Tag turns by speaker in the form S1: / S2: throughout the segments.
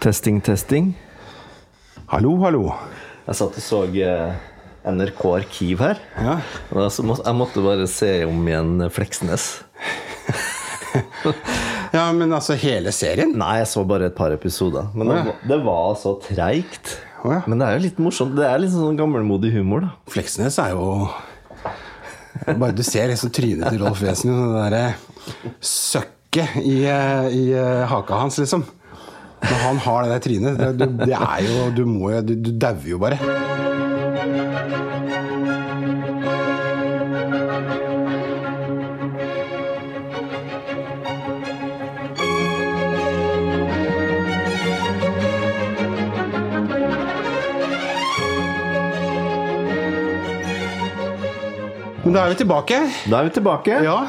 S1: Testing, testing.
S2: Hallo, hallo.
S1: Jeg satt og så eh, NRK Arkiv her.
S2: Ja.
S1: Og da så må- jeg måtte bare se om igjen Fleksnes.
S2: ja, men altså hele serien?
S1: Nei, jeg så bare et par episoder. Men det,
S2: Å ja.
S1: var- det var så treigt.
S2: Å ja.
S1: Men det er jo litt morsomt. Det er litt sånn gammelmodig humor, da.
S2: Fleksnes er jo Bare du ser liksom trynet til Rolf Wesen og det derre eh, søkket i, eh, i eh, haka hans, liksom. Når han har det der trynet. Det, du, det er jo Du må jo Du, du dauer jo bare. Men da er vi tilbake.
S1: Da er vi tilbake.
S2: Ja.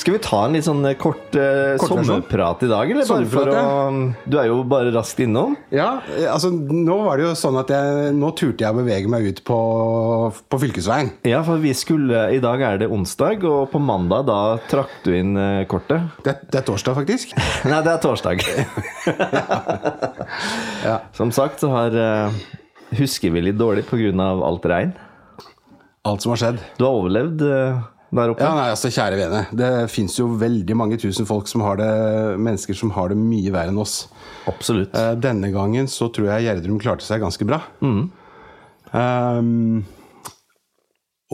S1: Skal vi ta en litt sånn eh, kort eh,
S2: Kort versjon.
S1: sommerprat i dag, eller? Bare for
S2: Sommerprat, ja.
S1: å, du er jo bare raskt innom.
S2: Ja, eh, altså Nå var det jo sånn at jeg, nå turte jeg å bevege meg ut på, på fylkesveien.
S1: Ja, for vi skulle I dag er det onsdag, og på mandag da trakk du inn eh, kortet.
S2: Det, det er torsdag, faktisk.
S1: Nei, det er torsdag.
S2: Ja.
S1: Som sagt så har eh, Husker vi litt dårlig pga. alt regn.
S2: Alt som har skjedd.
S1: Du har overlevd eh, der oppe.
S2: Ja, nei, altså kjære vene. Det fins jo veldig mange tusen folk som har det, mennesker som har det mye verre enn oss.
S1: Absolutt.
S2: Eh, Denne gangen så tror jeg Gjerdrum klarte seg ganske bra. Ehm,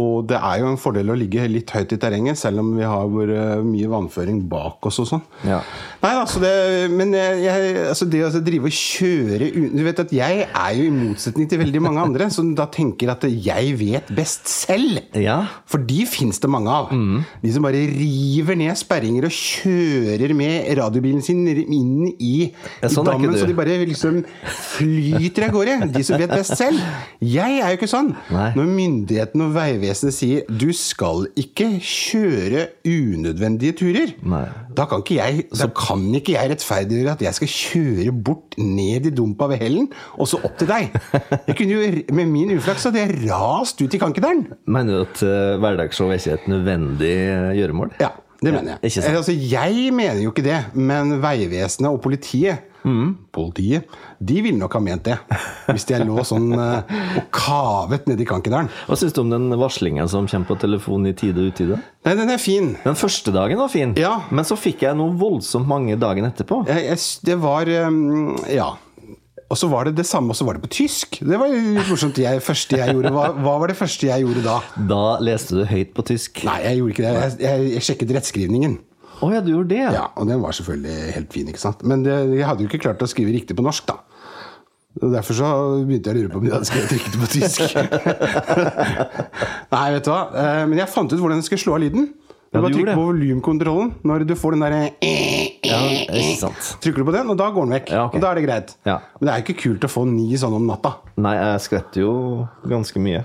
S2: og det er jo en fordel å ligge litt høyt i terrenget, selv om vi har vår, eh, mye vannføring bak oss og sånn.
S1: Ja.
S2: Nei, altså det, men jeg, jeg, altså det å altså drive og kjøre u- Du vet at jeg er jo i motsetning til veldig mange andre, som da tenker at jeg vet best selv.
S1: Ja.
S2: For de fins det mange av.
S1: Mm.
S2: De som bare river ned sperringer og kjører med radiobilen sin inn i,
S1: Ja, sånn
S2: i
S1: er ikke
S2: dammen,
S1: du.
S2: så de bare liksom flyter av gårde. De som vet best selv. Jeg er jo ikke sånn.
S1: Nei.
S2: Når myndighetene og Vegvesenet sier 'du skal ikke kjøre unødvendige turer',
S1: Nei.
S2: da kan ikke jeg, da kan ikke jeg rettferdiggjøre at jeg skal kjøre bort ned i dumpa ved hellen, og så opp til deg. Jeg kunne jo, Med min uflaks hadde jeg rast ut i Kankerdalen.
S1: Mener du at eh, hverdagsshow er ikke et nødvendig eh, gjøremål?
S2: Ja, det mener jeg.
S1: ikke sant.
S2: Eller, Altså, jeg mener jo ikke det, men Vegvesenet og politiet
S1: Mm.
S2: Politiet, de ville nok ha ment det. Hvis jeg lå sånn eh, og kavet nedi Kankerdalen.
S1: Hva syns du om den varslingen som kommer på telefon i tide og utide?
S2: Nei, den er fin.
S1: Den første dagen var fin,
S2: Ja.
S1: men så fikk jeg noe voldsomt mange dagen etterpå.
S2: Jeg, jeg, s- det var eh, Ja. Og så var det det samme, og så var det på tysk. Det var litt morsomt. Jeg, første jeg gjorde, hva, hva var det første jeg gjorde da?
S1: Da leste du høyt på tysk. Å
S2: Nei, jeg gjorde ikke det. Jeg, jeg, jeg sjekket rettskrivningen.
S1: ja, du gjorde det?
S2: Ja, Og den var selvfølgelig helt fin, ikke sant. Men det, jeg hadde jo ikke klart å skrive riktig på norsk, da. Og Derfor så begynte jeg å lure på om jeg hadde skrevet riktig på tysk. Nei, vet du hva. Eh, Men jeg fant ut hvordan jeg skulle slå av lyden. Du
S1: Ja,
S2: bare
S1: du gjorde
S2: trykker på volumkontrollen når du får den derre
S1: Ja, ikke sant.
S2: Trykker du på den, og da går den vekk.
S1: Ja, ok.
S2: Og da er det greit.
S1: Ja.
S2: Men det er jo ikke kult å få ni sånn om natta.
S1: Nei, jeg skvetter jo ganske mye.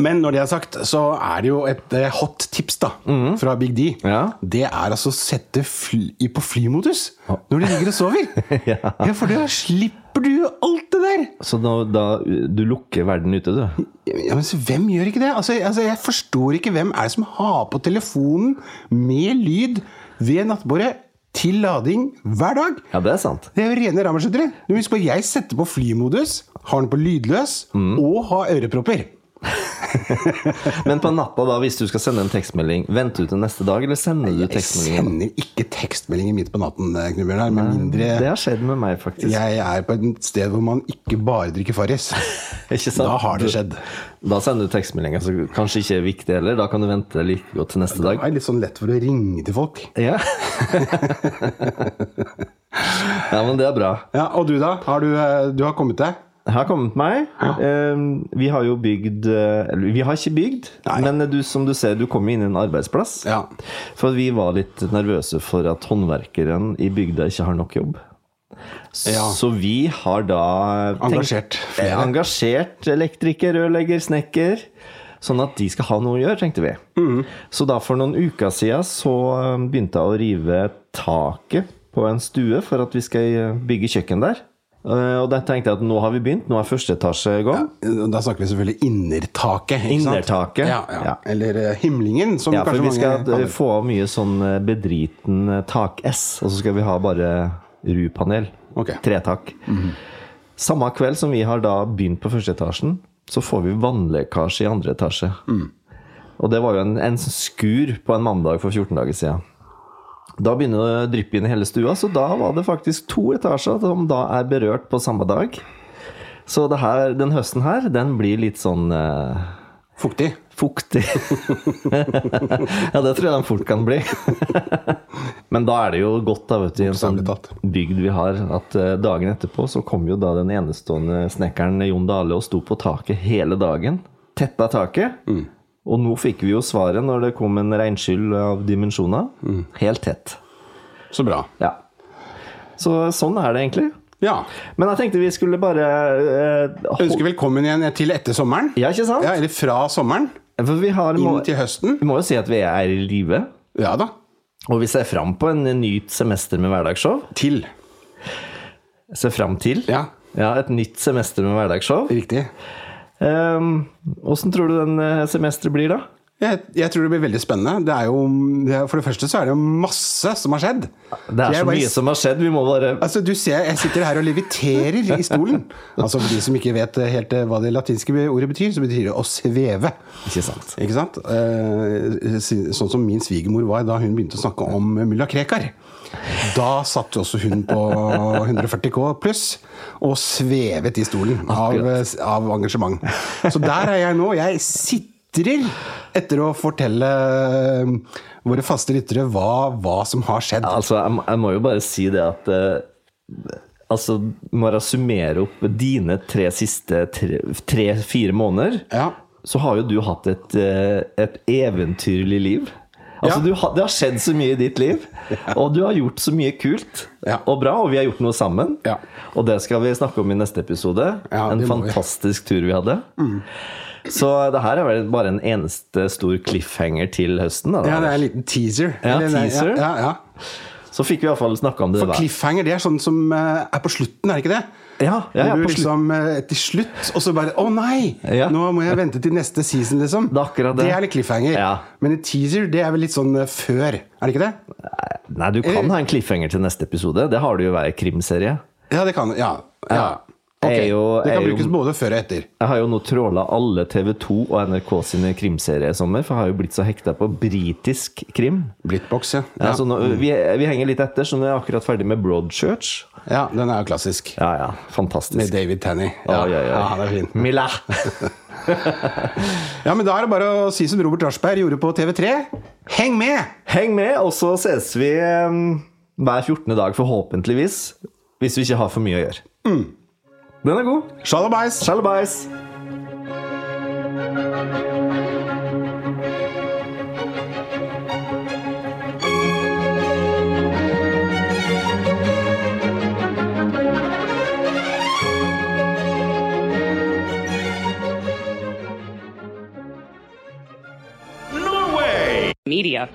S2: Men når det er sagt, så er det jo et eh, hot tips da fra Big D.
S1: Mhm. Ja.
S2: Det er altså å sette fly, i- på flymodus når du ligger og sover.
S1: Ja.
S2: ja, for da slipper du jo alt det der.
S1: Så da, da du lukker verden ute, du?
S2: Ja, men så Hvem gjør ikke det? Altså, altså, jeg forstår ikke hvem er det som har på telefonen med lyd ved nattbordet til lading hver dag.
S1: Ja, det er sant.
S2: Det er jo rene rammerskyttere. Du må huske på, jeg setter på flymodus, har den på lydløs
S1: Mhm.
S2: og har ørepropper.
S1: Men på natta, da, hvis du skal sende en tekstmelding, venter du til neste dag, eller sender du
S2: Jeg
S1: tekstmeldingen?
S2: sender ikke tekstmeldinger midt på natten, eh, Knut Bjørnar, med
S1: Det
S2: mindre
S1: har skjedd med meg, faktisk.
S2: jeg er på et sted hvor man ikke bare drikker Farris.
S1: Ikke sant?
S2: Da har det skjedd.
S1: Da sender du tekstmeldinger som kanskje ikke er viktig heller. Da kan du vente like godt til neste
S2: Det
S1: dag.
S2: er litt sånn lett for å ringe til folk.
S1: Ja. ja, men det er bra.
S2: Ja, Og du, da? Har du, eh, du har kommet deg?
S1: Jeg har kommet meg. Ehm, Vi har jo bygd eh, Eller vi har ikke bygd,
S2: Nei.
S1: men du, som du ser, du kom inn i en arbeidsplass.
S2: Ja.
S1: For vi var litt nervøse for at håndverkeren i bygda ikke har nok jobb.
S2: Ja.
S1: Så vi har da tenkt-
S2: Engasjert flere.
S1: Eh, Engasjert elektriker, rørlegger, snekker. Sånn at de skal ha noe å gjøre, tenkte vi.
S2: Mhm.
S1: Så da for noen uker siden så eh, begynte jeg å rive taket på en stue for at vi skal eh, bygge kjøkken der. Eh, Og da tenkte jeg at nå har vi begynt, nå er første etasje i gang.
S2: Eh, Da snakker vi selvfølgelig innertaket. Ikke Sant?
S1: Innertaket,
S2: Ja, ja.
S1: ja.
S2: Eller eh, himlingen, som
S1: Ja, for
S2: kanskje
S1: vi
S2: mange
S1: skal eh,
S2: kaller det.
S1: få av mye sånn eh, bedriten eh, tak-S, og så skal vi ha bare rupanel.
S2: Ok. Mhm.
S1: Tretak. Samme kveld som vi har da begynt på første etasjen, så får vi vannlekkasje i andre etasje.
S2: Mm.
S1: Og det var jo en, en skur på en mandag for 14 dager siden. Da begynner det å dryppe inn i hele stua, så da var det faktisk to etasjer som da er berørt på samme dag. Så det her, den høsten her, den blir litt sånn eh,
S2: Fuktig.
S1: Fuktig. ja, det tror jeg den fort kan bli. Men da er det jo godt, da, vet du, i en sånn
S2: Bokstavelig talt.
S1: bygd vi har, at eh, dagen etterpå så kom jo da den enestående snekkeren Jon Dale og sto på taket hele dagen. Tetta taket.
S2: Mm.
S1: Og nå fikk vi jo svaret når det kom en regnskyll av dimensjoner.
S2: Mm.
S1: Helt tett.
S2: Så bra.
S1: Ja. Så sånn er det egentlig.
S2: Ja.
S1: Men jeg tenkte vi skulle bare eh, hol-
S2: Ønsker velkommen igjen til etter sommeren.
S1: Ja, ikke sant?
S2: Ja, eller fra sommeren
S1: For vi har må,
S2: inn til høsten.
S1: Vi må jo si at vi er i live.
S2: Ja da.
S1: Og vi ser fram på en nytt semester med hverdagsshow.
S2: Til.
S1: Ser fram til.
S2: Ja,
S1: Ja, et nytt semester med hverdagsshow.
S2: riktig.
S1: Åssen tror du den eh, semesteret blir, da?
S2: Jeg, jeg tror det blir veldig spennende. Det er jo, det er, for det første så er det jo masse som har skjedd.
S1: Det er
S2: Jeg
S1: så
S2: bare-
S1: mye som har skjedd. Vi må bare
S2: Altså, du ser, Jeg sitter her og leviterer i stolen. Altså, For de som ikke vet helt eh, hva det latinske ordet betyr, så betyr det å sveve.
S1: Ikke sant.
S2: Ikke sant? Eh, si- Sånn som min svigermor var da hun begynte å snakke om mulla Krekar. Da satt jo også hun på 140 K pluss og svevet i stolen av, eh, av engasjement. Så der er jeg nå. Jeg sitrer etter å fortelle eh, våre faste lyttere hva, hva som har skjedd.
S1: Altså, jeg, må- jeg må jo bare si det at eh, Altså, når jeg summerer opp dine tre siste tre-fire måneder,
S2: Ja.
S1: så har jo du hatt et, eh, et eventyrlig liv. Altså,
S2: Ja.
S1: du har, det har skjedd så mye i ditt liv, og du har gjort så mye kult
S2: Ja.
S1: og bra, og vi har gjort noe sammen.
S2: Ja.
S1: Og det skal vi snakke om i neste episode.
S2: Ja,
S1: en
S2: det må vi. Mm.
S1: fantastisk tur vi hadde. Så det her er vel bare en eneste stor cliffhanger til høsten. Da,
S2: Ja, det er en liten teaser.
S1: Ja,
S2: Eller, nei,
S1: teaser.
S2: Ja, ja, ja.
S1: Så fikk vi iallfall snakka om det.
S2: For
S1: hver-
S2: cliffhanger, det er sånn som eh, er på slutten, er det ikke det?
S1: Ja, ja, ja,
S2: Hvor du
S1: på slutt.
S2: liksom eh, til slutt, og så bare Å nei!
S1: Ja.
S2: Nå må jeg vente til neste season, liksom.
S1: Det er akkurat det.
S2: er litt cliffhanger.
S1: Ja.
S2: Men en teaser, det er vel litt sånn eh, før, er det ikke det?
S1: Nei, du kan ha en cliffhanger til neste episode. Det har det jo i hver krimserie.
S2: Ja, det kan Ja. ja. Ok.
S1: Jeg er jo-
S2: det
S1: jeg
S2: kan
S1: er jo-
S2: brukes både før og etter.
S1: Jeg har jo nå tråla alle TV 2 og NRK sine krimserier i sommer, for jeg har jo blitt så hekta på britisk krim.
S2: Blittboks, ja. Ja.
S1: Ja. sånn- så nå, vi, vi henger litt etter, så nå er jeg akkurat ferdig med Broadchurch.
S2: ja. Den er jo klassisk.
S1: Ja, ja, fantastisk.
S2: Med David Tanney.
S1: Oi, oi, oi.
S2: ja, han er fin.
S1: Milla!
S2: Ja, men da er det bare å si som Robert Raschberg gjorde på TV3. Heng med!
S1: Heng med, og så ses vi eh, hver 14. dag, forhåpentligvis. Hvis vi ikke har for mye å gjøre. Den er god.
S2: Shalabais!
S1: Sjalabais!
S3: media.